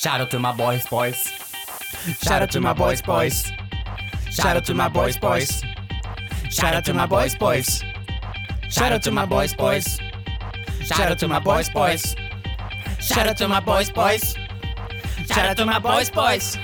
Shout out to my boys, boys. Shout out to my boys, boys. Shout out to my boys, boys. Shout out to my boys, boys. Shout out to my boys, boys. Shout out to my boys, boys. Shout out to my boys, boys. Shout out to my boys, boys.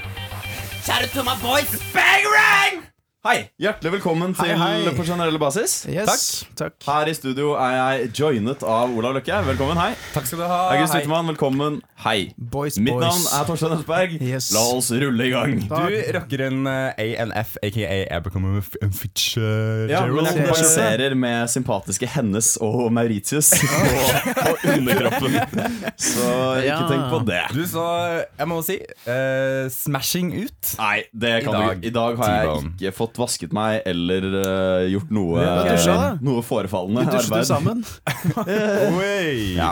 Shout out to my boys. Bang rang! Hei! Hjertelig velkommen til hei. På generelle basis. Yes, takk. Her i studio er jeg joinet av Olav Løkke. Velkommen, hei. Takk skal du ha. August Utemann, velkommen. Hei. Boys, Mitt boys. navn er Torstein Østberg. Yes. La oss rulle i gang. Du rocker en eh, ANF, aka Abercrombie F- and Fitch eh, Ja, men Gerald. jeg kompenserer med sympatiske hennes og Mauritius på, på underkroppen. Så ikke Ja. tenk på det. Du så, jeg må si, eh, smashing ut. Nei, det I kan du dag, ikke. I dag har jeg T-bone. ikke fått vasket meg eller eh, gjort noe, Ja, du sa det. noe forefallende Vi dusjet jo arbeid. sammen. Ja,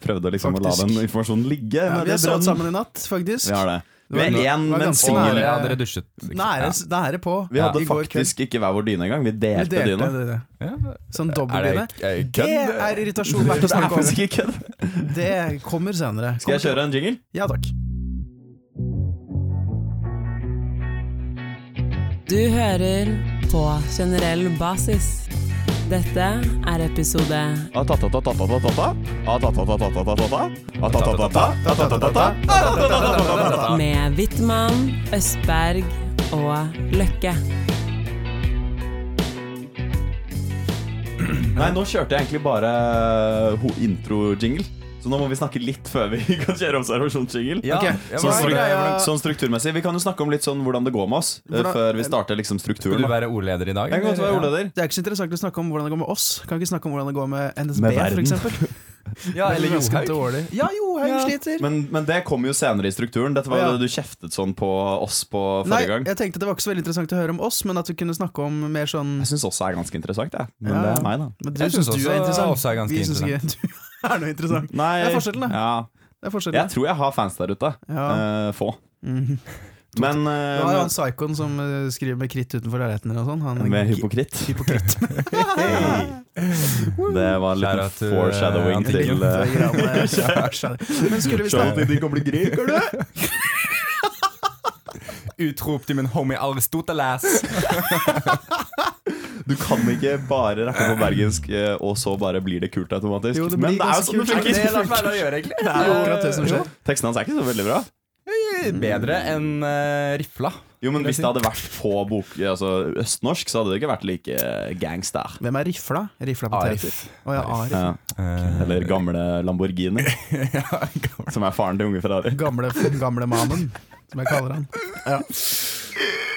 prøvde liksom å la Faktisk. den informasjonen ligge. Ja, men vi har det sovet brant. sammen i natt, faktisk. Vi har det. var- Vi er én, det var men ganske singel. nære. Ja, dere dusjet. ikke Nære, sant? nære på. Vi hadde I går kveld. faktisk ikke hver vår dyne engang. Vi Vi delte, delte dyna. det. Ja. Er Sånn det dobbeldyne. er det Det kødd? er irritasjon verdt å Det er snakke om. faktisk ikke kødd. Det kommer senere. Skal jeg kjøre en jingle? Ja takk. Du hører på generell basis. Dette er episode med Wittmann, Østberg og Løkke. Nei, nå kjørte jeg egentlig bare ho- intro-jingle. Så nå må vi snakke litt før vi kan kjøre observasjonsjingle. Ja, Ok, jeg Sånn, må hva er stru greia? sånn strukturmessig. Vi kan jo snakke om litt sånn hvordan det går med oss, eh, Hvordan- før vi starter liksom Vil strukturen. du da. være ordleder i dag? Jeg kan godt eller? være ordleder. Det er ikke så interessant å snakke om hvordan det går med oss. Kan ikke snakke om hvordan det går med NSB, Med verden. for eksempel. Ja, eller Welcome to Johaug. Orly. Ja, Johaug Ja. sliter. Men, men det kommer jo senere i strukturen. Dette var jo Ja. det du kjeftet sånn på oss på Nei, forrige gang. jeg tenkte det var ikke så veldig interessant å høre om oss, men at vi kunne snakke om mer sånn Jeg syns også er ganske interessant, jeg. Men Ja. det er meg, da. Men du Jeg syns synes du også- er også er interessant. ganske Vi syns ikke du er noe interessant. Nei, Det er forskjellen, da. Ja. Det er forskjellen. Jeg tror jeg har fans der ute. Ja. Eh, få. Mhm. Men Det var jo eh, han psykoen som eh, skriver med kritt utenfor leiligheten din og sånn. Han med hypokritt hypokritt. Det var en Shout liten out til, eh, foreshadowing Antikken. til eh, Men skulle vi snakke til de kan bli grekere, du! Utrop til min homie Aristoteles. Du kan ikke bare rappe på bergensk, eh, og så bare blir det kult automatisk. Jo, det blir Men det er jo ganske sånn det kult. Det er funker. langt verre å gjøre, egentlig. Det er jo akkurat det som Eh, skjer. Teksten hans er ikke så veldig bra. Bedre enn eh, rifla. Jo, men Hvis det hadde vært på bok, altså østnorsk, så hadde det ikke vært like eh, gangster. Hvem er rifla? Rifla poteter. Å ja, Arif. Ja. Eh, Eller gamle Lamborghini, som er faren til unge Ferrari. Gamle, gamle mamen, som jeg kaller han.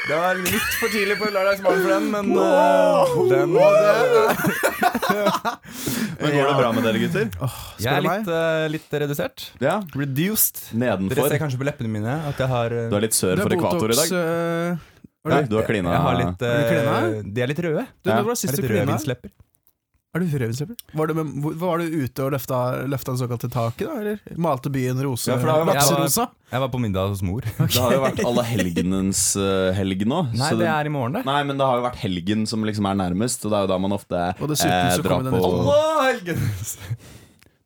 Det var litt for tidlig på lørdagsmorgen for den, men eh, den var det. Men Går det bra med dere, gutter? Jeg er Spør meg. litt, eh, litt redusert. Ja, Reduced. Dere Nedenfor. ser kanskje på leppene mine at jeg har eh, Du er litt sør Du for er ekvator i dag. Botox øh, Nei, du har klina. Jeg har litt, Har du eh, klina? De er litt røde. Du, Ja. når Det var det er sist du litt klina? rødvinslepper. Er du rødvinsløper? Var, du med- hvor- var du ute og løfta, løfta det såkalte taket, da? Eller malte byen rose? Ja, for det har jo vært- lakserosa? Jeg var på middag hos mor. eh, Det har jo vært allehelgenens eh, helg nå. Nei, så det er i morgen, det. Nei, men det har jo vært helgen som liksom er nærmest, og det er jo da man ofte eh, Og dessuten så drar kommer den på ut.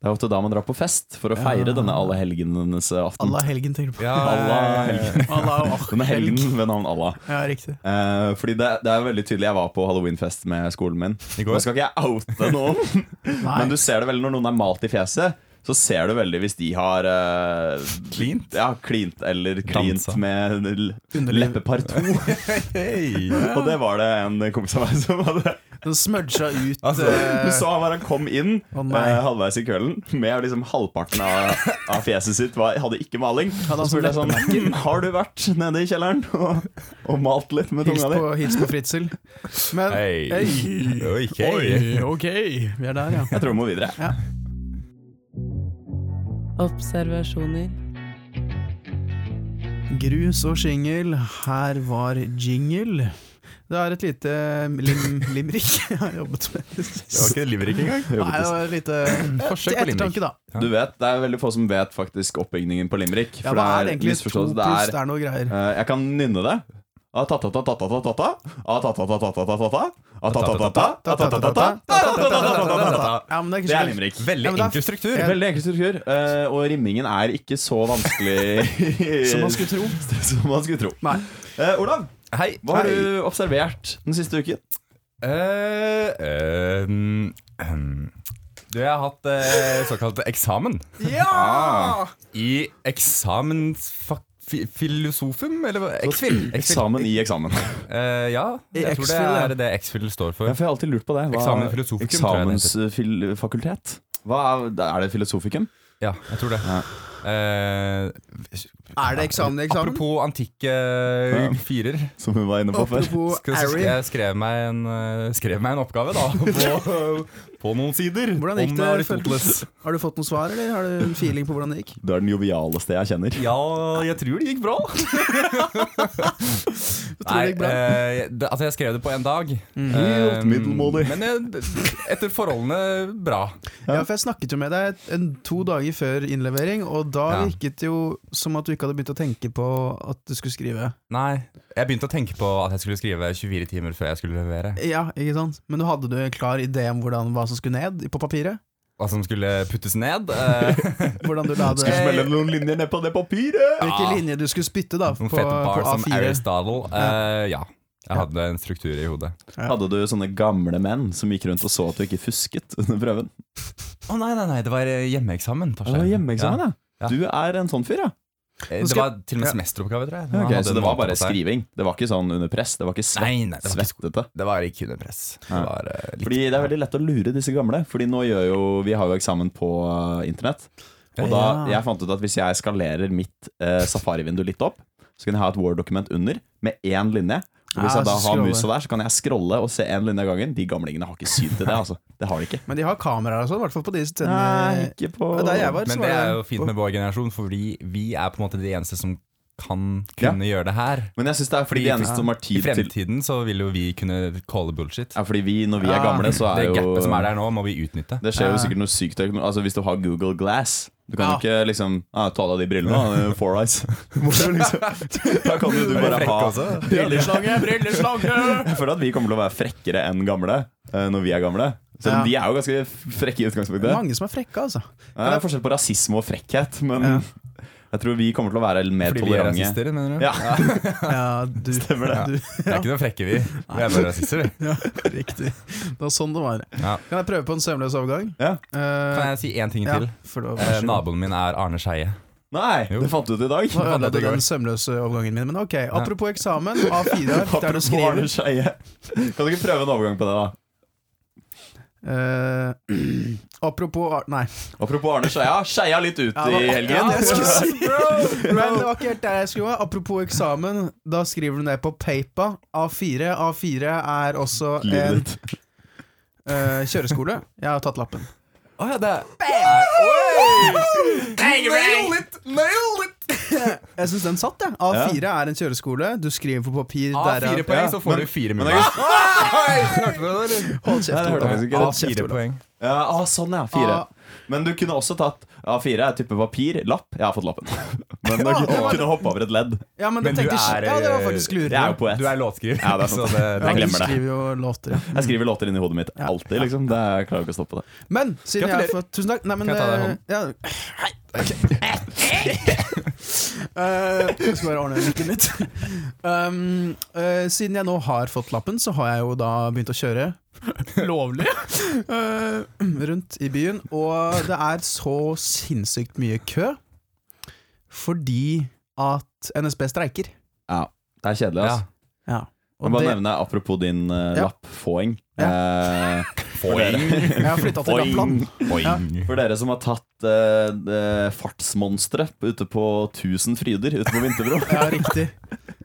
Det er ofte da man drar på fest for å Ja. feire denne allehelgenes eh, aften. Allah helgen, tenker du på. Ja, Allah eh, helgen. Allah og Denne helgen ved navn Allah. Ja, riktig. Eh, fordi det, det er veldig tydelig Jeg var på halloweenfest med skolen min. I går. Nå skal ikke jeg oute noen, Nei. men du ser det veldig når noen er malt i fjeset. Så ser du veldig hvis de har eh, Klint? Ja, klint eller klint Dansa. med l- Underliv. leppeparto. Hei. Og det var det en kompis av meg som hadde. Den smudga ut Altså, eh, Du så han var han kom inn Å, nei. eh, halvveis i kvelden med liksom halvparten av, av fjeset sitt var, hadde ikke maling. Hadde han Og så spurte jeg sånn «Hm, Har du vært nede i kjelleren og, og malt litt med Hils tunga di? på, hils på Fritzel. Men Hei. Hei. Ok. Oi, ok. Vi er der, ja. Jeg tror vi må videre. Observasjoner. Grus og shingle, her var jingle. Det er et lite eh, lim, limerick jeg har jobbet med. Det var ikke limerick engang. Nei, det var et lite Forsøk til på limerick. ettertanke, da. Du vet, Det er veldig få som vet faktisk oppbygningen på Limerick. Ja, For hva er det det er egentlig to pluss? misforståelse. Det Det er, er noe greier. eh, jeg kan nynne det. Det Ja, men det er ikke er så- limerick. Ja, Veldig men da- enkel struktur. Veldig enkel struktur. eh, Og rimmingen er ikke så vanskelig Som man skulle tro. Som man skulle tro. Nei. Eh, Olav, Hei. hva har Hei. du observert den siste uken? Eh, eh, mm, ehm. Du, jeg har hatt eh, såkalt eksamen. Ah, Ja! I eksamensfilosofum, eller hva? Exfil. Exfil. Eksamen i eksamen. Eh, ja, jeg tror det Exfil, ja. er det Exfil står Ja, for. for jeg har alltid lurt på det. Eksamen filosofikum, tror jeg det Eksamensfakultet? Hva er, er det filosofikum? Ja, jeg tror det. Ja. Eh, Er det eksamen i eksamen? apropos antikke eh, firer. Som hun var inne på før. Apropos Skal, så Ari. skal jeg skrev meg, en, eh, skrev meg en oppgave, da. På, på noen sider. Hvordan gikk om det? Aristoteles. Har du fått noe svar, eller har du en feeling på hvordan det gikk? Du er den jovialeste jeg kjenner. Ja, jeg tror det gikk bra. Du tror det gikk bra? eh, det, altså jeg skrev det på en dag. Helt Eh, middelmådig. Men jeg, etter forholdene bra. Ja, for jeg snakket jo med deg en, to dager før innlevering, og da Ja. virket det jo som at du ikke hadde begynt å tenke på at du skulle skrive. Nei, jeg begynte å tenke på at jeg skulle skrive 24 timer før jeg skulle levere. Ja, ikke sant? Men nå hadde du en klar idé om hvordan, hva som skulle ned på papiret? Hva som skulle puttes ned. eh, Hvordan du la Skal det smelle noen linjer ned på det papiret! Hvilke linjer du skulle spytte, da, på, Ah. Noen på fete bars som A4. Aristotle. Eh, ja. Jeg hadde en struktur i hodet. Hadde du sånne gamle menn som gikk rundt og så at du ikke fusket under prøven? Å nei, nei, nei, det var eh, hjemmeeksamen. Torstein. ja. Ja. Du er en sånn fyr, ja. Eh, Det var til og med semesteroppgave, tror jeg. Ja, Han ok, hadde så en det var måned bare på seg. skriving? Det var ikke sånn under press? Det var ikke svett, Nei, nei, det var ikke svettete? Det var ikke under press. Det Ja. var eh, litt Fordi det er veldig lett å lure disse gamle. Fordi nå gjør jo Vi har jo eksamen på eh, internett. Og da Ja. jeg fant ut at hvis jeg skalerer mitt eh, safarivindu litt opp, så kan jeg ha et Word-dokument under med én linje. Og hvis Ja, jeg da så har scrolle. musa der, så kan jeg scrolle og se én linje av gangen. De gamlingene har ikke syn til det, altså. Det har de ikke. Men de har kameraer og sånn, i hvert fall på de Nei, stedene ikke på Der jeg var, så Men var eh, det er jo fint med vår generasjon, fordi vi er på en måte de eneste som kan Ja. kunne gjøre det her. Men jeg syns det er fordi de Fordi- eneste som har I tid til fremtiden så vil jo vi kunne calle bullshit. Ja, fordi vi, når vi er Ja, gamle, så er Det jo gapet som er der nå, må vi utnytte. Det skjer Ja. jo sikkert noe sykt tekno- Altså Hvis du har Google Glass Du kan jo Ja. ikke liksom ah, Ta av deg de brillene da, Four eyes Hvorfor liksom Da kan jo du bare frekk ha også. Brilleslange, brilleslange Jeg føler at vi kommer til å være frekkere enn gamle eh, Når vi er gamle Selv om de er jo ganske frekke i utgangspunktet Det er mange som er frekke, altså. Eh, Det er forskjell på rasisme og frekkhet Men Ja. jeg tror vi kommer til å være mer Fordi vi er tolerante rasister, mener du? Ja, Ja, du, stemmer det du, Vi er ikke noen frekke, vi. Vi er bare rasister, vi. ja, riktig. Det var sånn det var. Ja. Kan jeg prøve på en sømløs overgang? Ja. Eh, Kan jeg si én ting ja, til? for da, Eh, naboen min er Arne Skeie. Nei, Jo. det fant du ut i dag Nå ødela det du går. den sømløse overgangen min, men ok. Apropos eksamen, A4-ark der du Apropos skriver Arne Scheie. Kan du ikke prøve en overgang på det da? Eh, Apropos ar- Nei. Apropos Arne Scheia Scheia litt ut Ja, i da- helgen Ja, det skulle jeg si. Men det var ikke helt der jeg skulle gå. Apropos eksamen, da skriver du ned på paper A4. A4 er også Livet en ditt. eh, kjøreskole. Jeg har tatt lappen. Å ja, det er Nailed it! Nailed it! Jeg syns den satt, jeg. A4 er en kjøreskole. Du skriver på papir. der er- fire poeng, Ja, så får men- du fire men mulig. Hørte du det, eller? Hold Nei, kjeft. det hørte jeg Olav. faktisk ikke. Ja, Hold kjeft, fire Olav. poeng. Ja, ah, sånn ja, fire Ah. Men du kunne også tatt A4 er type papir, lapp Jeg har fått lappen Men du Ja, det kunne, var- kunne hoppe over et ledd Ja, men, Men det du tenkte er, jeg Ja, det var faktisk eh, lurere. Jeg er jo poet Du er låtskriver, Ja, det er så sant. det, Ja, Jeg du glemmer det. skriver jo låter, ja. Jeg skriver låter inni hodet mitt Ja. Altid liksom, det, jeg klarer ikke å stoppe det Men siden jeg har fått Tusen takk. Nei, men Kan jeg ta deg i hånden? eh, ja. Eh, Jeg skal bare ordne mikken litt. Um, eh, siden jeg nå har fått lappen, så har jeg jo da begynt å kjøre. Lovlig! eh, rundt i byen. Og det er så sinnssykt mye kø fordi at NSB streiker. Ja, det er kjedelig Ja. ass Ja. Jeg Og må bare det, nevne, apropos din eh, Ja. lappfåing Ja. eh, for dere- jeg har flytta til Lappland. Poeng. For dere som har tatt eh, det fartsmonstre ute på Tusen fryder Ute på Vinterbro Ja, riktig.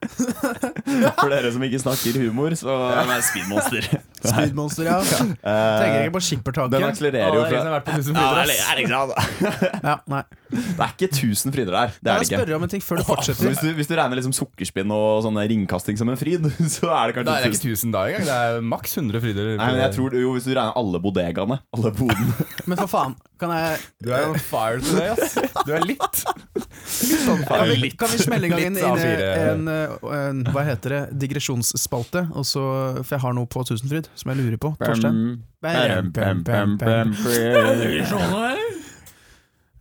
For dere som ikke snakker humor Så Nei, speedmonster Speedmonster, ja. Tenker ikke på skippertaket. Den akselererer jo Å, det er fra liksom vært på tusen Ja, flyter, det ass. er, det er, det Ja, nei. det er ikke tusen fryder der. Det er Jeg det ikke. spør om en ting før du Så fortsetter. hvis, du, hvis du regner liksom sukkerspinn og sånne ringkasting som en fryd, så er Da det kanskje er det tusen. ikke 1000 da engang. Det er maks 100 fryder. Nei, men jeg tror jo Hvis du regner alle bodegaene, alle bodene Men for faen, kan jeg Du er on fire today, ass. Du er litt. Kan vi, kan vi smelle i gang sånn en, Litt av en, fire. en, eh, en Hva heter det? Digresjonsspalte? Og så, for jeg har noe på Tusenfryd som jeg lurer på. Torstein? Bam, bam, bam, bam, bam.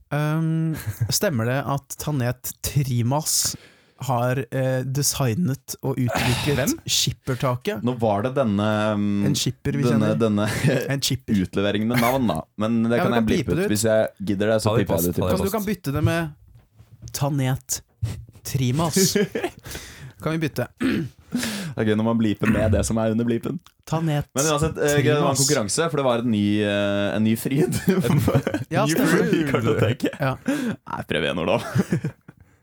Um, stemmer det at Tanet Trimas har eh, designet og utviklet skippertaket? Nå var det denne um, En skipper vi denne, kjenner. denne En chipper. utleveringen med navn, da. Men det Ja, men kan jeg kan blipe blipe ut. det ut. Hvis jeg gidder det, så Ta det i piper post, jeg det ta det ut. i Kan du kan bytte det med Tanet Trimas? Kan vi bytte? Det er gøy når man bliper med det som er under blipen. Tanet Men uansett, eh, det var en konkurranse, for det var en ny, eh, en ny fryd. Ja, stemmer det. I kartoteket. Ja. Nei, prøv igjen, Olav.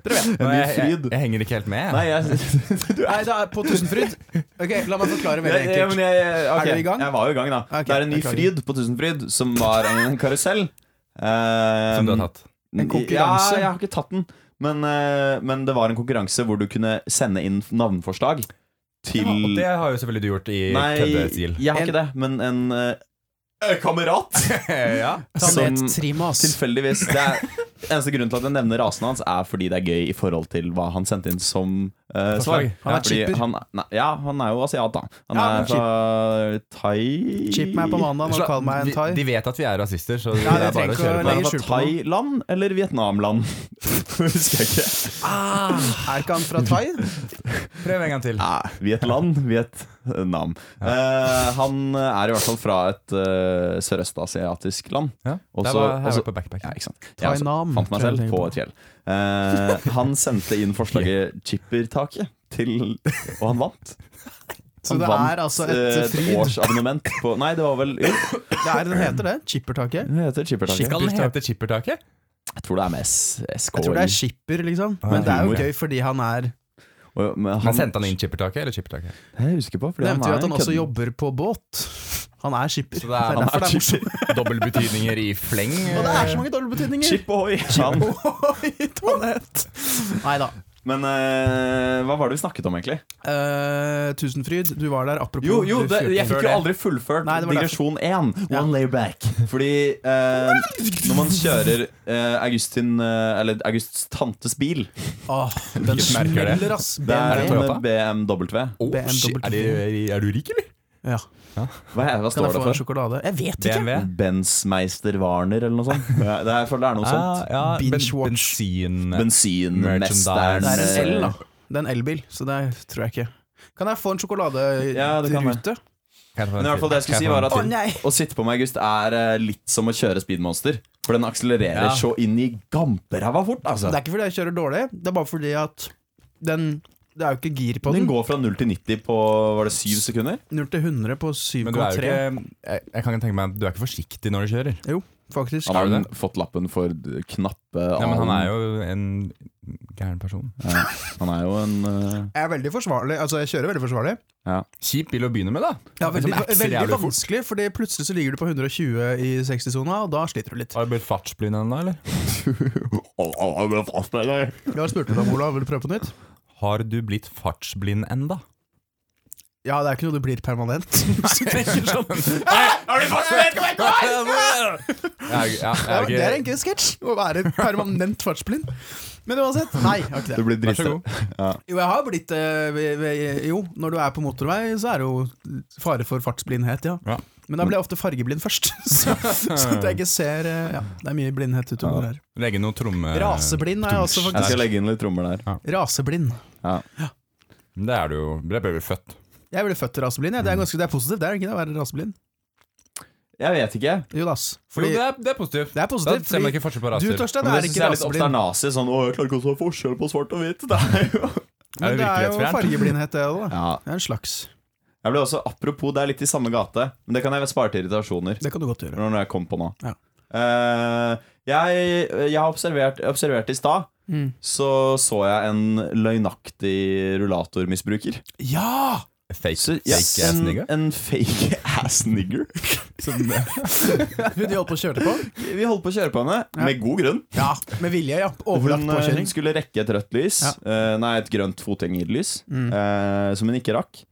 Nå, En ny jeg, jeg, fryd. jeg henger ikke helt med. Nei, jeg, du Nei, det er på Tusenfryd. Ok, La meg forklare Ja, veldig ja, men enkelt. jeg, ok, Er du i gang? Jeg var jo i gang, da. Ok, det er en ny beklager. fryd på Tusenfryd som var en karusell. Eh, Som du har tatt. En konkurranse? Ja, jeg har ikke tatt den. Men, eh, men det var en konkurranse hvor du kunne sende inn navneforslag til Ja, og det har jo selvfølgelig du gjort i Nei, køddestil. jeg har ikke det, men en eh, kamerat. ja. Tanet som- Trimas. Tilfeldigvis. Det er, eneste grunnen til at jeg nevner rasen hans, er fordi det er gøy i forhold til hva han sendte inn som eh, svar. Forslag. Han er Fordi chipper. Han, nei, ja, han er jo asiat, da. Han Ja, er fra Thai Chip meg på mandag og Sla- kall meg vi- en thai. De vet at vi er rasister, så det Ja, er bare det trenger å ikke å kjøre Men på. legge- er det skjul fra på noe. Thailand eller Vietnamland? Husker jeg ikke. Er ikke han fra Thai? Prøv en gang til. Nei, Vietland, Vietnam. Eh, han er i hvert fall fra et eh, sørøstasiatisk land. Ja. Også- Der var også- Herøy på backpack. Ja, ikke sant? Jeg også Thai-nam. fant meg selv på et fjell. Eh, han sendte inn forslaget Chippertaket til Og han vant. Så Han det vant, er altså eh, et fryd. årsabonnement på Nei, det var vel jo, Det er, den heter det. Chippertaket. Det heter Chippertaket. Skal den hete Chippertaket? Jeg tror det er med S- SK. Jeg tror det er skipper, liksom. Ja, Men det er jo Ah, humor. gøy fordi han er Og- men Men sendte han inn Chippertaket eller Chippertaket? Jeg husker på, fordi Nevnte jo er at han en også kødden. jobber på båt. Han er skipper. Så det er, derfor det er chipper. Dobbeltbetydninger i fleng. Og det er så mange dobbeltbetydninger! Chip ohoi! Han- Nei da. Men eh, hva var det vi snakket om, egentlig? Eh, Tusenfryd, du var der. Apropos Jo, jo du det, fyrte før jeg fikk jo det. aldri fullført Nei, det var digresjon 1. Ja. One layer back. Fordi eh, når man kjører eh, Augustin eh, Eller Augusts tantes bil Åh, Ah, den Ikke merker det. smeller, ass. Det er BMW. Toyota? en BMW. Oh, shit. Er, du- er du rik, eller? Ja. Hva, er, Kan hva jeg få står det en for? sjokolade? Jeg vet ikke! BMW? Bensmeister Warner, eller noe sånt? Det er, det er, jeg føler det Ah, er noe sånt. Ah, ja, ben- Binge-watch. Bensin Bensinmesteren eh, Det er Merchandise. en el, da. Det er en elbil, så det er- tror jeg ikke. Kan jeg få en Ja, det kan sjokoladerute? Kan jeg få en Men i hvert fall det jeg skulle til? si var at Å, nei. Å sitte på med August er eh, litt som å kjøre speedmonster. For den akselererer Ja. så inn i gamperæva fort, altså. Det er ikke fordi jeg kjører dårlig, det er bare fordi at den Det er jo ikke gir på Den den. går fra 0 til 90 på var det 7 sekunder? 0 til 100 på Men du er jo 7,3. ikke jeg, jeg kan tenke meg at du er ikke forsiktig når du kjører. Jo, faktisk. Han har du den fått lappen for d- knappe Nei, men han er jo en gæren person. Han er jo en eh, Jeg er veldig forsvarlig. Altså, jeg kjører veldig forsvarlig. Kjip bil å begynne med, da. Ja, veldig, Som accer veldig jævlig fort. vanskelig, fordi plutselig så ligger du på 120 i 60-sona, og da sliter du litt. Har du blitt fartsblind ennå, eller? Au, au, au, jeg er fast med deg. Jeg har spurt deg om Olav, vil du prøve på nytt? Har du blitt fartsblind enda? Ja, det er ikke noe du blir permanent. Hvis du tenker sånn. Jeg, ja, Ja, jeg, det er er ikke- egentlig en sketsj, å være permanent fartsblind. Men uansett, nei, jeg har ikke Du det. blir Vær så drita. god. Jo, jeg har blitt eh, ved- ved- Jo, når du er på motorvei, så er det jo fare for fartsblindhet, ja. Ja. Men da blir jeg ofte fargeblind først, så, så at jeg ikke ser eh, Ja, det er mye blindhet utover her. Legge noe tromme... Raseblind er jeg også, Jeg skal faktisk. legge inn litt trommer der. Raseblind. Det er du jo. Det ble vel født. Jeg ble født raseblind, ja. det, er ganske, det er positivt, det er ikke det å være raseblind? Jeg vet ikke. Jo da, ass. Fordi, Fordi det, er, positivt. det er Da positivt. ser man Fordi ikke forskjell på du, raser. Torstein, Men er det ikke syns jeg er litt raseblind. obsternasig. Sånn 'Å, jeg klarer ikke å ta forskjell på svart og hvitt'. Det er jo Men det er jo fargeblindhet, det òg, da. ja. Det er en slags. Jeg ble også, Apropos, det er litt i samme gate, men det kan jeg spare til irritasjoner. Det kan du godt gjøre. Når jeg kom på nå. Ja. Eh, jeg, jeg har observert, observert i stad, Mm. så så jeg en løgnaktig rullatormisbruker. Ja! Fake, Så- fake ass en, nigga. en fake ass nigger. Hun de holdt på å kjøre på? Vi holdt på å kjøre på henne, med god grunn. Ja, med vilje, ja. Overlagt Hun, eh, påkjøring. Mm. skulle rekke et rødt lys, eh, nei, et grønt fotgjengerlys, eh, som hun ikke rakk.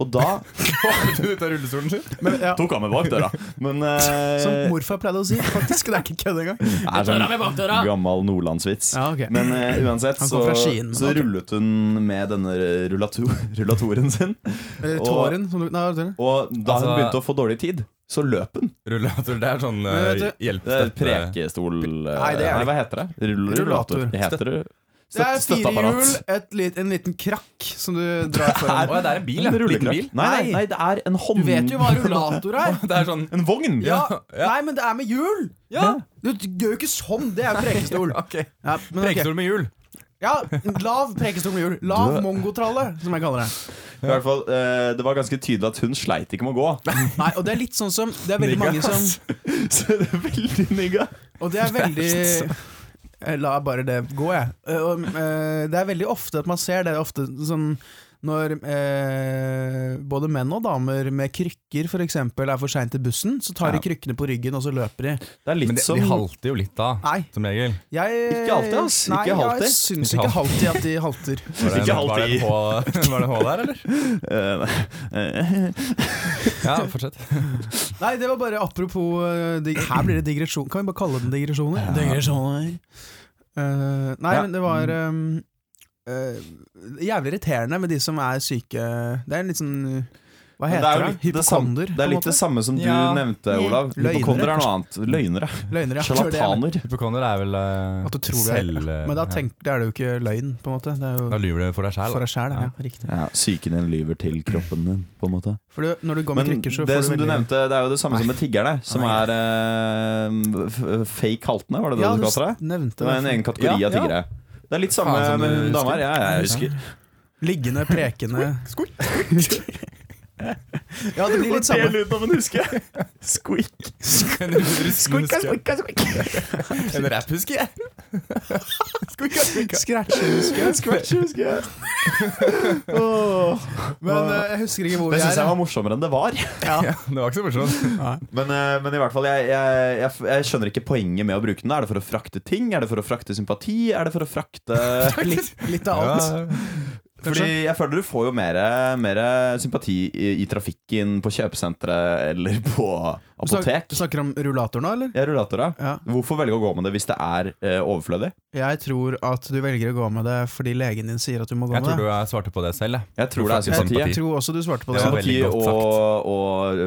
Og da Ut av rullestolen sin. Men, ja, tok han meg bak døra. Men eh, som morfar pleide å si, faktisk. Det er ikke kødd engang. det er sånn gammel nordlandsvits. Ja, ok. Men eh, uansett Han kom så, fra Skien, men så ok. rullet hun med denne rullato rullatoren sin. Eller Eh, Og- Tåren. Som du, nei, hva heter det? Og da Altså- hun begynte å få dårlig tid, så løp hun. Rullator, det er sånn Men vet uh, du- hjelp Det er Prekestol eh, Nei, det er det Hva heter det? Rull- Rullator. Rullator. Det heter det. det er Støt- fire støtteapparat. hjul, et lit, en liten krakk som du drar Å foran. ja, det er en bil, ja. En Liten rullekraft. bil. Nei, nei, nei, det er en hånd... Du vet jo hva rullator er! Det er sånn En vogn! Ja, ja. Nei, men det er med hjul! Ja. Du gjør jo ikke sånn! Det er jo prekestol. Ok. Ja, men, ok. Prekestol med hjul. ja, lav prekestol med hjul. Lav Du- mongotralle, som jeg kaller det. I hvert fall, eh, Det var ganske tydelig at hun sleit ikke med å gå. Nei, og det er litt sånn som Det er veldig mange som Så det er veldig nigga. Og det er veldig Jeg lar bare det gå, jeg. Eh, og, eh, Det er veldig ofte at man ser det ofte sånn når eh, både menn og damer med krykker for eksempel, er for seint til bussen, så tar de Ja. krykkene på ryggen og så løper de. Det er litt Men de, som de halter jo litt da, Nei. som regel. Jeg, Ikke alltid, ass. Nei, Ikke halter. jeg syns Ikke ikke alltid at de halter. Var det, Ikke en- var det en H, var det en H der, eller? Eh, Ja, fortsett. Nei, det var bare apropos eh, dig Her blir det digresjon. Kan vi bare kalle det digresjoner? Digresjoner. Eh, nei, Ja. men det var um, eh, jævlig irriterende med de som er syke Det er litt sånn Hva men heter jo det? litt sam- Hypokonder? det er litt det samme som du Ja. nevnte, Olav. Løgnere. Hypokonder er noe annet. Løgnere. Løgner, ja. Sjarlataner. Hypokonder er vel eh, At du tror det er- eh, Men da, tenk, da er det jo ikke løgn, på en måte. Det er Da jo lyver du for deg sjæl. for deg sjæl. Ja. riktig. Ja, Psyken din lyver til kroppen din, på en måte. For du, når du går med Men krykker, så det får som du veldig- nevnte, det er jo det samme som med tiggerne, som er eh, f- fake haltene, var det det ja, du kalte det? s- nevnte Det var en egen kategori Ja, av tiggere. Det er litt samme Faen, som du med eh, hun dama husker. her. Ja, jeg husker. Liggende, prekende Ja, det blir litt samme. lyden av en huske. Squeak. En rapphuske. En rapphuske, jeg. Squeak, squeak. Scratch-huske. Scratch, husker jeg. Åh. Men eh, jeg husker ikke hvor Det vi syns jeg er. var morsommere enn det var. Ja, det var ikke så morsomt. Men, eh, men i hvert fall, jeg, jeg, jeg, jeg skjønner ikke poenget med å bruke den. Er det for å frakte ting? Er det for å frakte sympati? Er det for å frakte Litt, litt av alt. Fordi jeg føler du får jo mer, mer sympati i, i trafikken på kjøpesenteret eller på Du snak- apotek. Du snakker om rullator nå, eller? Jeg er rullator, da. Ja. Hvorfor velge å gå med det hvis det er eh, overflødig? Jeg tror at du velger å gå med det fordi legen din sier at du må gå Jeg med tror du det. eh, svarte på det selv, jeg. Jeg tror det er Jeg- sympati. Jeg tror også du svarte på det. Ja, Men vel. Sympati veldig godt og,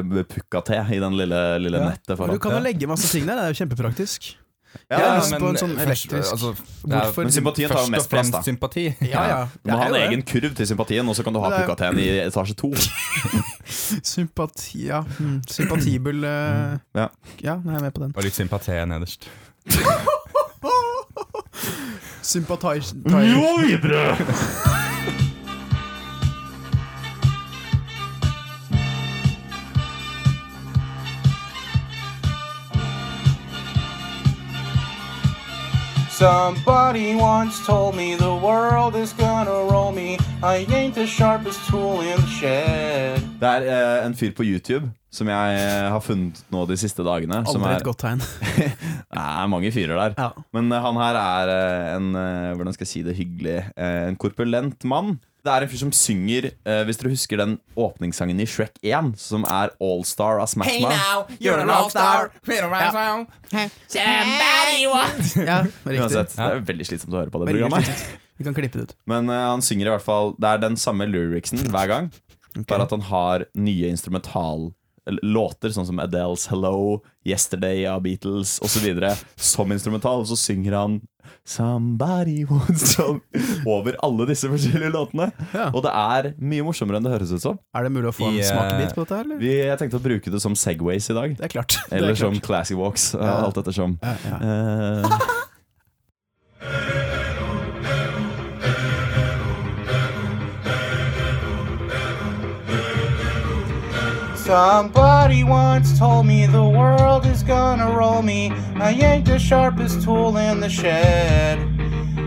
og pukka-te i den lille, lille Ja. nettet Du foran. kan jo legge masse ting der, det er jo kjempepraktisk. Ja, Jeg har ja, lyst men, på en sånn først- elektrisk. altså, det er- Hvorfor? men sympatien tar jo Først og mest plass, da. fremst sympati. Ja, ja. Du må Det er ha en jo det. egen kurv til sympatien, og så kan du ha Det er- pukka-teen i etasje to. Sympati, ja. Mm. Sympatibel eh, Ja. Ja, nå er jeg med på den. Og litt sympati nederst. Sympatai... videre! Somebody once told me the world is gonna roll me. I ain't the sharpest tool in the shed. Det er eh, en fyr på YouTube som jeg eh, har funnet nå de siste dagene. Som Aldri er, et godt tegn. det er mange fyrer der. Ja. Men eh, han her er eh, en eh, Hvordan skal jeg si det hyggelig eh, En korpulent mann Det er en fyr som synger eh, Hvis dere husker den åpningssangen i Shrek 1 Som er All Star av Smash Mouth you're an all-star. Somebody ja, riktig. Uansett, det er veldig slitsomt å høre på det programmet Vi kan klippe det ut. Men eh, han synger i hvert fall Det er den samme lyricsen hver gang Bare at han har nye instrumental eller Låter sånn som Adele's Hello Yesterday av Beatles Og så videre som instrumental Og så synger han Somebody wants some Over alle disse forskjellige låtene Ja. Og det er mye morsommere enn det høres ut som Er det mulig å få I, en eh, smakebit på dette, her, eller? Vi, jeg tenkte å bruke det som segways i dag. Det er klart. Det er Eller klart. som classic walks, eh, Ja. alt ettersom. ja, ja. Eh, Somebody once told me the world is gonna roll me. I ain't the sharpest tool in the shed.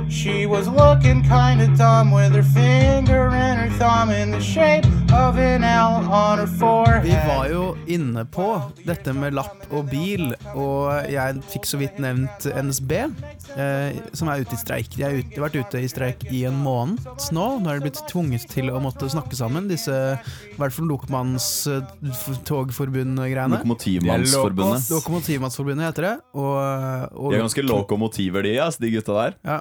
She was looking kinda dumb with her finger and her thumb in the shape of an L on her forehead. Vi var jo inne på dette med lapp og bil, og jeg fikk så vidt nevnt NSB, eh, som er ute i streik. De har, ut, de har vært ute i streik i en måned nå. Nå er de blitt tvunget til å måtte snakke sammen, disse i hvert fall eh, Lokmannstogforbund-greiene. Lokomotivmannsforbundet. Lokomotivmannsforbundet heter det. Og, eh, og De er ganske lokomotiver, de, ass, de gutta der. Ja.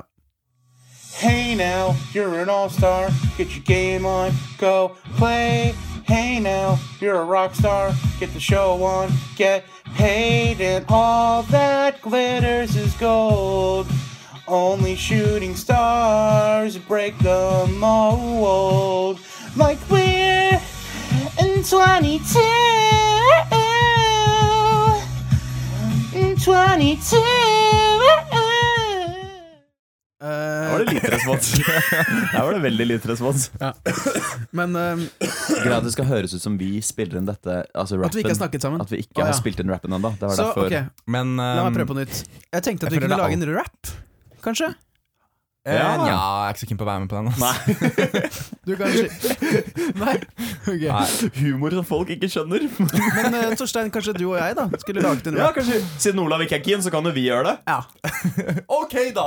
Hey now, you're an all star. Get your game on, go play. Hey now, you're a rock star. Get the show on, get paid, and all that glitters is gold. Only shooting stars break the mold. Like we're in 22. In 22. Eh, Der var det lite respons. Der var det veldig lite respons. men eh, Greia at det skal høres ut som vi spiller inn dette, altså rappen. at vi ikke har snakket sammen. At vi ikke Å, ja. har spilt inn rappen ennå. Det var Um, Så derfor. ok, Men la ehm, meg prøve på nytt. Jeg tenkte at jeg vi føler kunne det er lage en rap, kanskje? Ja. Ja. eh, jeg er ikke så keen på å være med på den. ass. Nei, Du kan Nei? Ok. Nei. humor som folk ikke skjønner. Men eh, Torstein, kanskje du og jeg da skulle laget en Ja, rap? kanskje Siden Olav ikke er keen, så kan jo vi gjøre det. Ja. OK, da!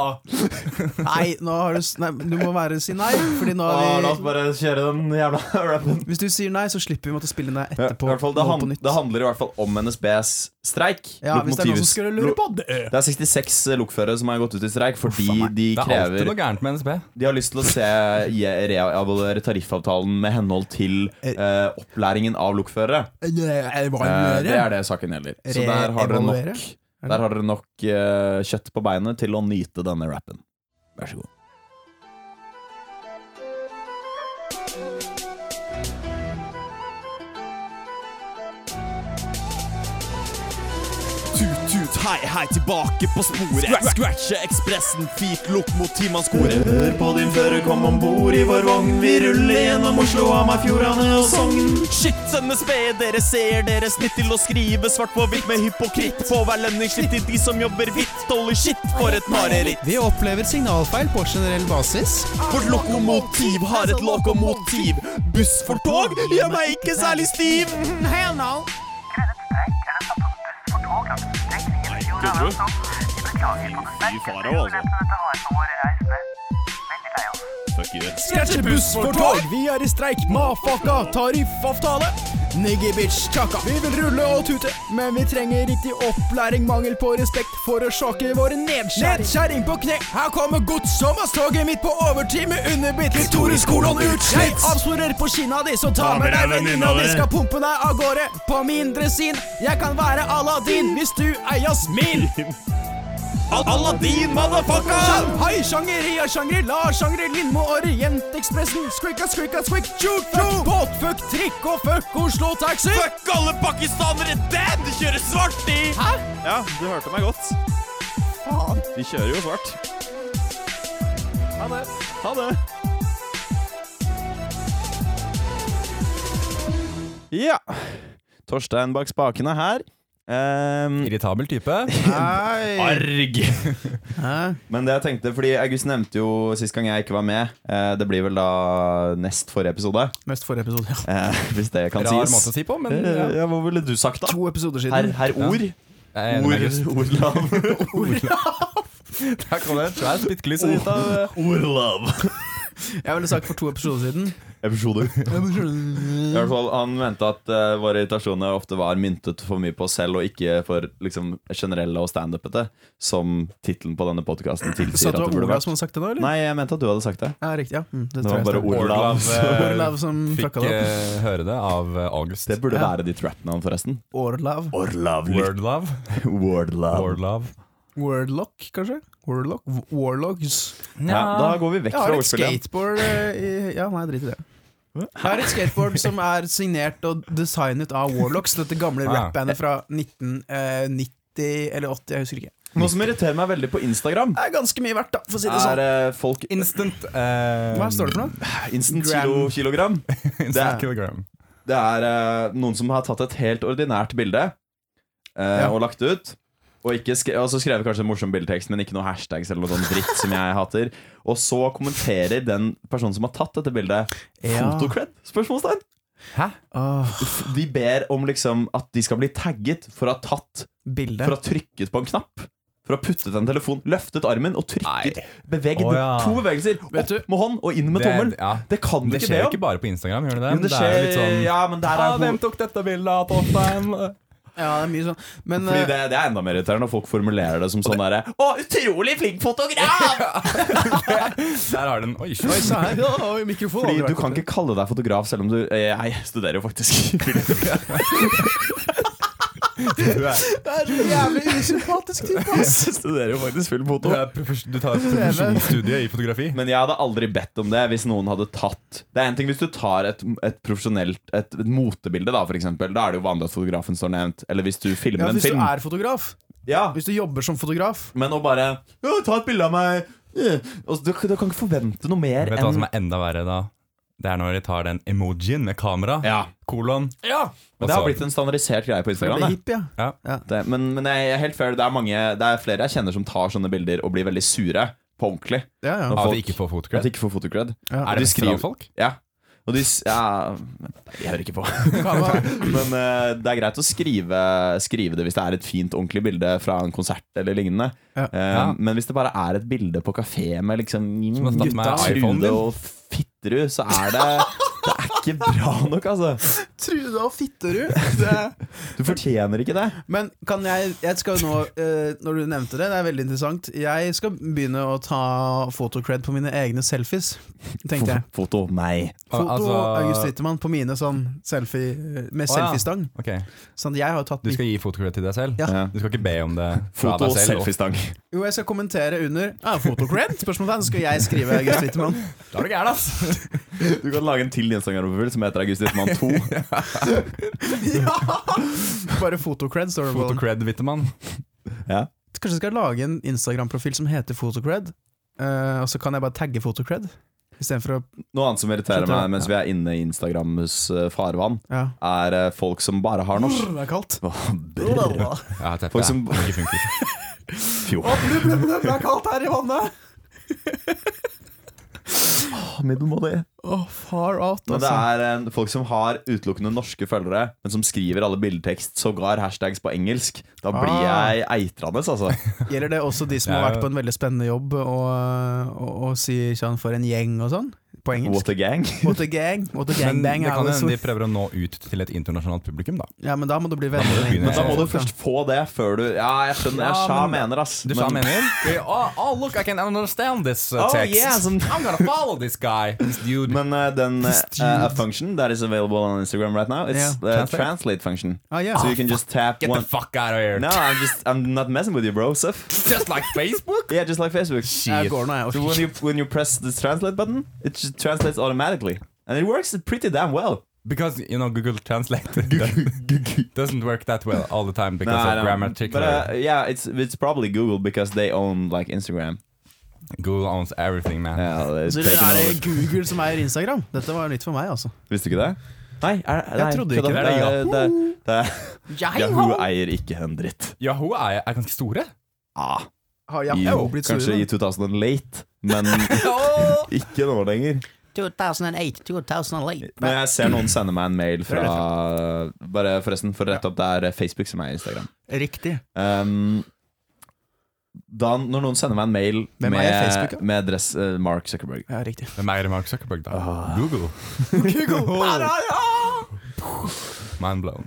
Nei, nå har du, s- nei, du må bare si nei. Fordi nå Ah, har la oss vi, bare kjøre den jævla rappen. hvis du sier nei, så slipper vi å måtte spille den der Ja, etterpå. i hvert fall, nå det, han, på nytt. det handler i hvert fall om NSBs streik. ja, hvis det er noen som Lokomotivs- skulle lure på det. Det er 66 lokførere som har gått ut i streik fordi faen meg. de Det er alltid krever noe gærent med NSB. De har lyst til å se je- reevaluere tariffavtalen med henhold til eh, opplæringen av lokførere. Eh, det er det saken gjelder. Så der har dere nok, Reevaluere? der har dere nok eh, kjøtt på beinet til å nyte denne rappen. Vær så god. Tut, tut, hei, hei, tilbake på sporet. Scratche ekspressen, fint lokomotiv man skorer. Hør på din fører, kom om bord i vår vogn. Vi ruller gjennom Oslo, Amafjordane og Sogn. Shit, NSB, dere ser deres snitt til å skrive svart på hvitt med hypokritt. På hver lønningsslitt til de som jobber hvitt. Dolly shit, for et mareritt. Vi opplever signalfeil på generell basis. Vårt lokomotiv har et lokomotiv. Buss for tog gjør meg ikke særlig stiv. Skræsje buss for tog! Vi er i streik, mafaka, tariffavtale! Niggy bitch, chaka. Vi vil rulle og tute, men vi trenger riktig opplæring. Mangel på respekt forårsaker våre nedskjæring. Nedskjæring på kne. Her kommer gods som har stoget mitt på overtid med underbitt. Victorius kolon utslitt. Jeg avsporer på kinna di, så ta med deg venninna di. Skal pumpe deg av gårde på min dresin. Jeg kan være Aladdin hvis du er Jasmin. Aladdin, motherfucker! Shanghai, Shangeria, Shangri-La, Shangri-Lindmo, Orientekspressen, Skrikka, Skrikka, Skrik, Tjort, Fuck båt, fuck trikk og fuck Oslo Taxi. Fuck alle pakistanere, damn! De kjører svart, de! Hæ? Ja, du hørte meg godt. Faen. De kjører jo svart. Ha det. Ja. Torstein bak spakene her. Ehm, Irritabel type. arg! Men det jeg tenkte, fordi August nevnte jo sist gang jeg ikke var med eh, Det blir vel da nest forrige episode, Mest forrige episode, ja. eh, hvis det kan Rar sies. måte å si på, men ja. Eh, ja, hva ville du sagt, da? To episoder siden. Herr her, ord? Jeg er enig med August. Orlav. Her kommer det et svært spyttkliss ut av Orlav. Jeg ville sagt for to episoder siden. Episoder. I hvert fall, Han mente at eh, våre irritasjoner ofte var myntet for mye på oss selv, og ikke for liksom, generelle og standupete, som tittelen på denne podkasten Sa tilsier. du at det burde Olav vært. som hadde sagt det da, eller? Nei, jeg mente at du hadde sagt det. Ja, riktig, ja. Mm, det Det tror var jeg bare stemmer. Orlav. Orlav, eh, Orlav som Fikk fucka det opp. eh, høre det av eh, August. Det burde Ja. være ditt rap-navn, forresten. Orlav. Orlav. Wordlove. Wordlav. Wordlove. Warlock, kanskje? Warlock? Warlocks. Ja, da går vi vekk Jeg fra har et ordspillet. igjen. skateboard eh, i, Ja, nei, drit i det. Jeg har et skateboard som er signert og designet av Warlocks, dette gamle Ah. rap-bandet fra 1990 eller 80, jeg husker ikke. Noe som irriterer meg veldig på Instagram, Det er ganske mye verdt, da, for å si det er sånn. eh, folk Instant eh, Hva står det mm. for noe? Instant Gram. kilo, kilogram. Instant kilogram. Det er eh, noen som har tatt et helt ordinært bilde eh, Ja. og lagt ut. Og, ikke skre og så skrev jeg kanskje en morsom bildetekst, men ikke noe hashtags eller noe sånn dritt som jeg hater. Og så kommenterer den personen som har tatt dette bildet, Ja. fotocred? Spørsmålstegn. Hæ? Åh, F- De ber om liksom at de skal bli tagget for å ha tatt bildet. For å ha trykket på en knapp. For å ha puttet en telefon, løftet armen og trykket. Beveget Å, ja. to bevegelser. Vet du- Opp med hånd og inn med Det- tommelen. ja. Det kan du Det ikke skjer be jo om. ikke bare på Instagram, gjør det det? Men det skjer er jo litt sånn Ja, men der ah, er Hvem tok dette bildet av Torstein? Ja, det er mye sånn. Men Fordi eh, det, det er enda mer irriterende når folk formulerer det som sånn derre Å, utrolig flink fotograf! Der har den Oi, Oi, shit. se her. Ja, oi, mikrofon. Fordi Aldri du vært kan borti. ikke kalle deg fotograf selv om du eh, Jeg studerer jo faktisk film. Du er- Det er så jævlig usympatisk type, jeg ass. studerer jo faktisk filmfoto. Du, er profes du tar et profesjonsstudie i fotografi. Men jeg hadde aldri bedt om det hvis noen hadde tatt Det er en ting hvis du tar et, et profesjonelt Et, et motebilde, da, for eksempel. Da er det jo vanlig at fotografen står nevnt. Eller hvis du filmer Ja, en hvis du film. er fotograf, Ja, hvis du jobber som fotograf Men å bare «Ja, Ta et bilde av meg! eh», og du, du kan ikke forvente noe mer Vet du hva enn som er enda verre da? Det er når de tar den emojien med kamera. ja. Kolon. Men det har blitt en standardisert greie på Det Instagram. blir det. hippie, ja. Det, men men jeg er helt fair, det er, mange, det er flere jeg kjenner som tar sånne bilder og blir veldig sure på ordentlig. Ja, ja. At folk- de ikke får At fotokred. de ikke får fotocred. Ja. Er de det skriver- skriver folk? Ja. Og de s- ja, De hører ikke på. Men eh, det er greit å skrive, skrive det hvis det er et fint, ordentlig bilde fra en konsert eller lignende. Ja. Eh, Ja. Men hvis det bare er et bilde på kafé med liksom har tatt med iPhone Trude din. og Fitterud, så er det Det er ikke bra nok, altså. Trude og Fitterud. Det- Du fortjener ikke det. Men kan jeg, jeg skal nå, eh, når du nevnte det, det er veldig interessant Jeg skal begynne å ta fotocred på mine egne selfies, tenkte jeg. Fo- Foto nei. Foto Altså- August Wittemann på mine sånn selfie, med Å, ja. selfiestang. Ok, Sånn, jeg har jo tatt Du skal gi fotokred til deg selv? Ja. Ja. Du skal ikke be om det fra Foto og deg selv? selfiestang. Jo, jeg skal kommentere under ah, fotocred? Spørsmålstegn. Så skal jeg skrive August Wittemann. Da er du gæren, ass! Du kan lage en til Instagram-profil som heter August Wittmann 2. ja! Bare fotocred står det på. den. Fotokred, Wittemann. Kanskje jeg skal lage en Instagram-profil som heter fotocred, eh, og så kan jeg bare tagge fotocred istedenfor å Noe annet som irriterer Skjønte meg det. mens vi er inne i Instagrams eh, farvann, Ja. er eh, folk som bare har norsk. Det er kaldt. Brr. Ja, teppet, Folk ja. som- ikke funker. Fjo. Det er kaldt her i vannet! Middelmådig. Åh, far out, Men det altså. er eh, folk som har utelukkende norske følgere, men som skriver alle bildetekst, sågar hashtags på engelsk. Da blir Ah. jeg eitrende, altså. Gjelder det også de som har Ja. vært på en veldig spennende jobb, og, og, og sier sånn for en gjeng og sånn? På engelsk. What a gang. What a gang, what a Men det gangbang. kan alle hende sort- de prøver å nå ut til et internasjonalt publikum, da. Ja, men da må du bli venner. du med begynne- engelsk Men da må du folk, først få det før du Ja, jeg skjønner. Ja, Jeg sja men- mener, ass. Du sa Men- meningen? Oh, oh, look, I can understand this uh, Oh, text. yes, I'm- I'm gonna follow this guy, this dude. Men eh, den uh, function that is available on Instagram right now, it's Yeah. the Translate. translate function. Ah, yeah. So you can just tap Get one the fuck out of here. No, I'm just I'm not messing with you, bro. Seth. Just like Facebook? Yeah, just like Facebook. Uh, Ja, Jeg går nå, jeg. So when you when you press the translate button, it just translates automatically, and it works pretty damn well. Because, you know, Google Translate doesn't- doesn't work that well all the time because of grammatical. But uh, yeah, it's it's probably Google because they own like Instagram. Uh, Google owns everything, man. Ja, det Så det er det Google som eier Instagram? Dette var jo nytt for meg, altså. Visste du ikke det? Nei, er, nei Jeg trodde ikke kødda. det. Det er Det, det, det, Yahoo eier ikke en dritt. Yahoo er, er ganske store. Ah, Har jeg i, jeg har jo blitt sur. kanskje i nå. 2000 late, men ikke nå lenger. 2008, 2008. Men jeg ser noen sende meg en mail fra Bare forresten, for å rette opp, det er Facebook som er Instagram. Riktig. Um, da, når noen sender meg en mail Hvem med, eier Facebook, da? med adresse- eh, Mark Zuckerberg Ja, riktig. Hvem eier Mark Zuckerberg, da? Google. Mind blown.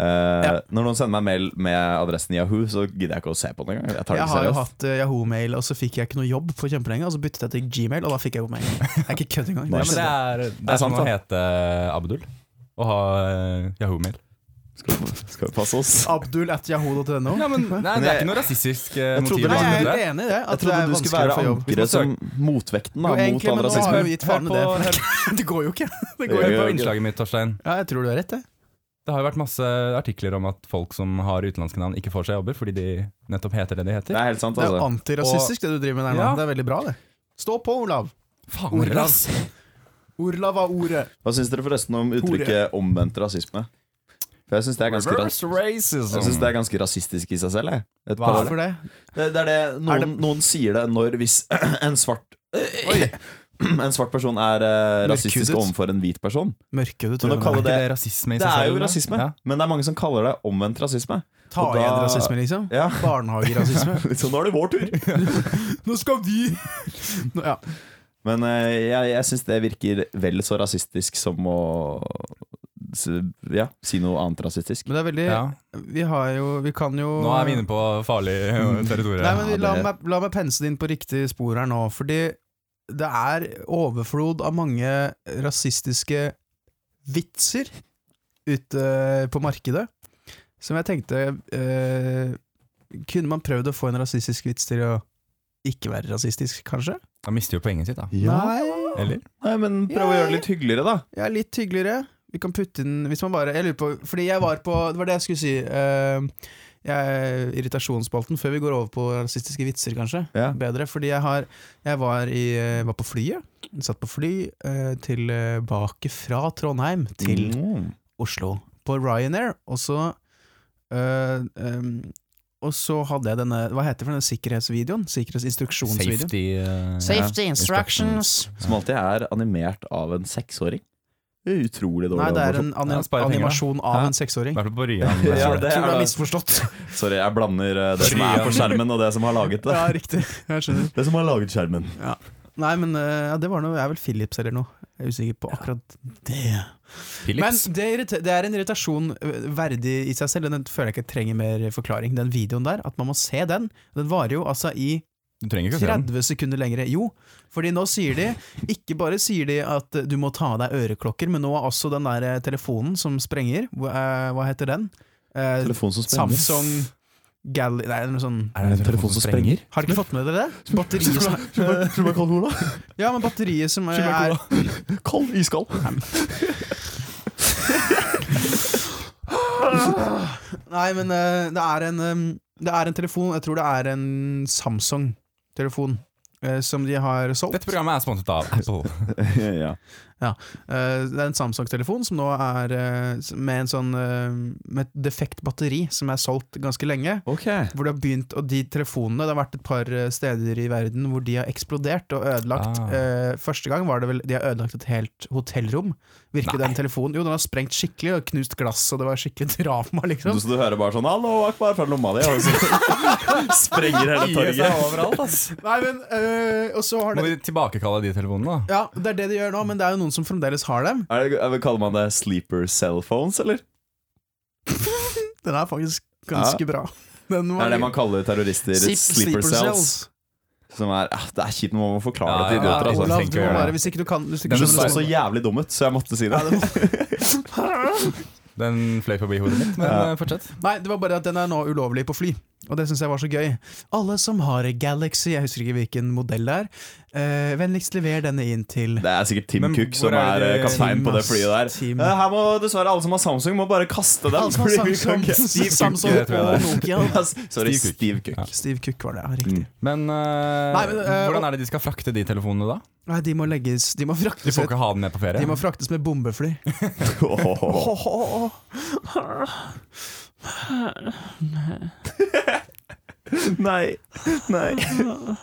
Eh, Når noen sender meg en mail med adressen Yahoo, så gidder jeg ikke å se på den engang. Jeg tar det Jeg ikke har jo seriøst. hatt eh, Yahoo-mail, og så fikk jeg ikke noe jobb for kjempelenge. Og så byttet jeg til Gmail, og da fikk jeg jo mail. Jeg er ikke kødd engang. Ja, Det men det skjedde. er, det er er som sant, å da. hete eh, Abdul og ha eh, Yahoo-mail. Skal, skal vi passe oss? Abdul at yahoo.no. Ja, men nei, Det er ikke noe rasistisk eh, Jeg trodde motiv. det Nei, jeg bak er helt det. enig i det. Jeg At det trodde er du skulle vanskeligere være å få jobb. ankeret som motvekten da, Jo, mot egentlig, all men nå har jeg jo rasisme. gitt faen i Hør det. Det går jo ikke. Det Gå går inn på jo ikke. innslaget mitt, Torstein. Ja, jeg tror du har rett, det. Det har jo vært masse eh, artikler om at folk som har utenlandske navn, ikke får seg jobber fordi de nettopp heter det de Det heter. er helt sant, Det er jo altså. antirasistisk, det du driver med der nå. Ja. Det er veldig bra, det. Stå på, Olav. Faen, Orlav. ass. Orlav har ordet. Hva syns dere forresten om uttrykket omvendt rasisme? For jeg syns det, er ganske ras- Reverse racism. jeg synes det er ganske rasistisk i seg selv. Jeg. Et parallell. Hvorfor det? Det, det er det noen, noen sier det når hvis en svart En svart person er eh, rasistisk Mørkhudet. overfor en hvit person. Mørke, du Men tror å jeg. kalle det det, Det er rasisme i det seg er selv. jo rasisme, Ja. men det er mange som kaller det omvendt rasisme. Ta og da- igjen rasisme, liksom. Ja, Barnehagerasisme. så nå er det vår tur! Nå skal vi Nå, ja. Men eh, jeg, jeg syns det virker vel så rasistisk som å s- ja, si noe annet rasistisk. Men det er veldig Ja. Vi har jo Vi kan jo Nå er vi inne på farlig eh, territorium. Nei, men vi- la, det- meg, la meg pense det inn på riktig spor her nå, fordi det er overflod av mange rasistiske vitser ute eh, på markedet, som jeg tenkte eh, Kunne man prøvd å få en rasistisk vits til å ikke være rasistisk, kanskje? Da mister jo poenget sitt, da. Nei, Eller? Nei, men prøv å gjøre det litt hyggeligere, da. ja, litt hyggeligere. Vi kan putte inn Hvis man bare Jeg lurer på Fordi jeg var på Det var det jeg skulle si. eh, jeg, irritasjonsspalten, før vi går over på rasistiske vitser, kanskje. Ja. bedre. Fordi jeg, har, jeg var, i, eh, var på flyet. Satt på fly eh, tilbake fra Trondheim til Mm. Oslo på Ryanair. Og så eh, em, Og så hadde jeg denne Hva heter det for denne sikkerhetsvideoen? Sikkerhetsinstruksjonsvideoen. Safety eh, Safety instructions. Som alltid er animert av en seksåring. Det er Utrolig dårlig. Nei, det er animasjon. en anim Ja, spare penger, da. animasjon av Ja. I en seksåring. hvert fall på Ryan. eh, Ja, Ja, det Tror du er har det. misforstått? Sorry, jeg blander eh, det som er på skjermen og det som har laget det. Ja, riktig. Jeg skjønner. Det som har laget skjermen. Nei, men eh, ja, det var noe Jeg er vel Philips eller noe. Jeg er usikker på akkurat det. Men Philips. det, irrite- det er en irritasjon ø, verdig i seg selv. og Den føler jeg ikke trenger mer forklaring. Den videoen der, at man må se den. Den varer jo altså i Du trenger ikke å se den. 30 sekunder lengre. Jo, fordi nå sier de Ikke bare sier de at eh, du må ta av deg øreklokker, men nå er også den der eh, telefonen som sprenger. Hva, eh, hva heter den? Eh, Telefon som sprenger. Samsung Gally... Nei, noe sånn Er det en telefon som sprenger? Har dere ikke fått med dere det? Batteriet som, Tror du meg kald cola? ja, men batteriet som eh, er Kald iskald. Nei, men eh, det, er en, eh, det er en telefon Jeg tror det er en Samsung-telefon eh, som de har solgt. Dette programmet er sponset av Apple. ja. Eh, det er en Samsung-telefon som nå er eh, s- med en sånn eh, Med et defekt batteri som er solgt ganske lenge. Ok. Hvor de har begynt, og de telefonene Det har vært et par eh, steder i verden hvor de har eksplodert og ødelagt. Ah. eh, første gang var det vel de har ødelagt et helt hotellrom. Virker den telefonen Jo, den har sprengt skikkelig og knust glass, og det var skikkelig drama, Du, liksom. så du hører bare sånn 'Hallo, Akbar' fra lomma di, altså. og så sprenger hele torget. overalt, ass. Nei, men eh, Og så har Må det vi tilbakekalle de telefonene, da? Ja, det er det de gjør nå, men det er jo noen som fremdeles har dem. Er det, er- kaller man det sleeper cell phones, eller? Den er faktisk ganske Ja. bra. Den Det er det man kaller terrorister. Sleep- Sleeper cells. Som er, ah, det er kjipt når man må forklare Ja, det ja, til ja. idioter. altså. Olav, tenker du må jeg. bare, hvis ikke du kan hvis du ikke Den Du skjønner så det så sånn. jævlig dum ut, så jeg måtte si det. Den fløy forbi hodet mitt, men Ja. eh, fortsett. Nei, det var bare at den er nå ulovlig på fly. Og det syns jeg var så gøy. Alle som har Galaxy, jeg husker ikke hvilken modell det er, eh, vennligst lever denne inn til Det er sikkert Tim Men Cook som hvor er er, det- eh, kaptein på det flyet der. Team- Eh, Her må dessverre alle som har Samsung, må bare kaste den. Alle som har fordi vi kan Samsung, ikke- Steve Samsung det tror jeg og det Nokia. Ja, s- Sorry, Steve Cook. Steve Cook. Steve Cook var det, ja, riktig. Men, eh, Nei, men, eh, hvordan er det de skal frakte de telefonene, da? Nei, de må legges De må De fraktes, får ikke ha den med på ferie? de må fraktes med bombefly. Åh. Nei. Nei.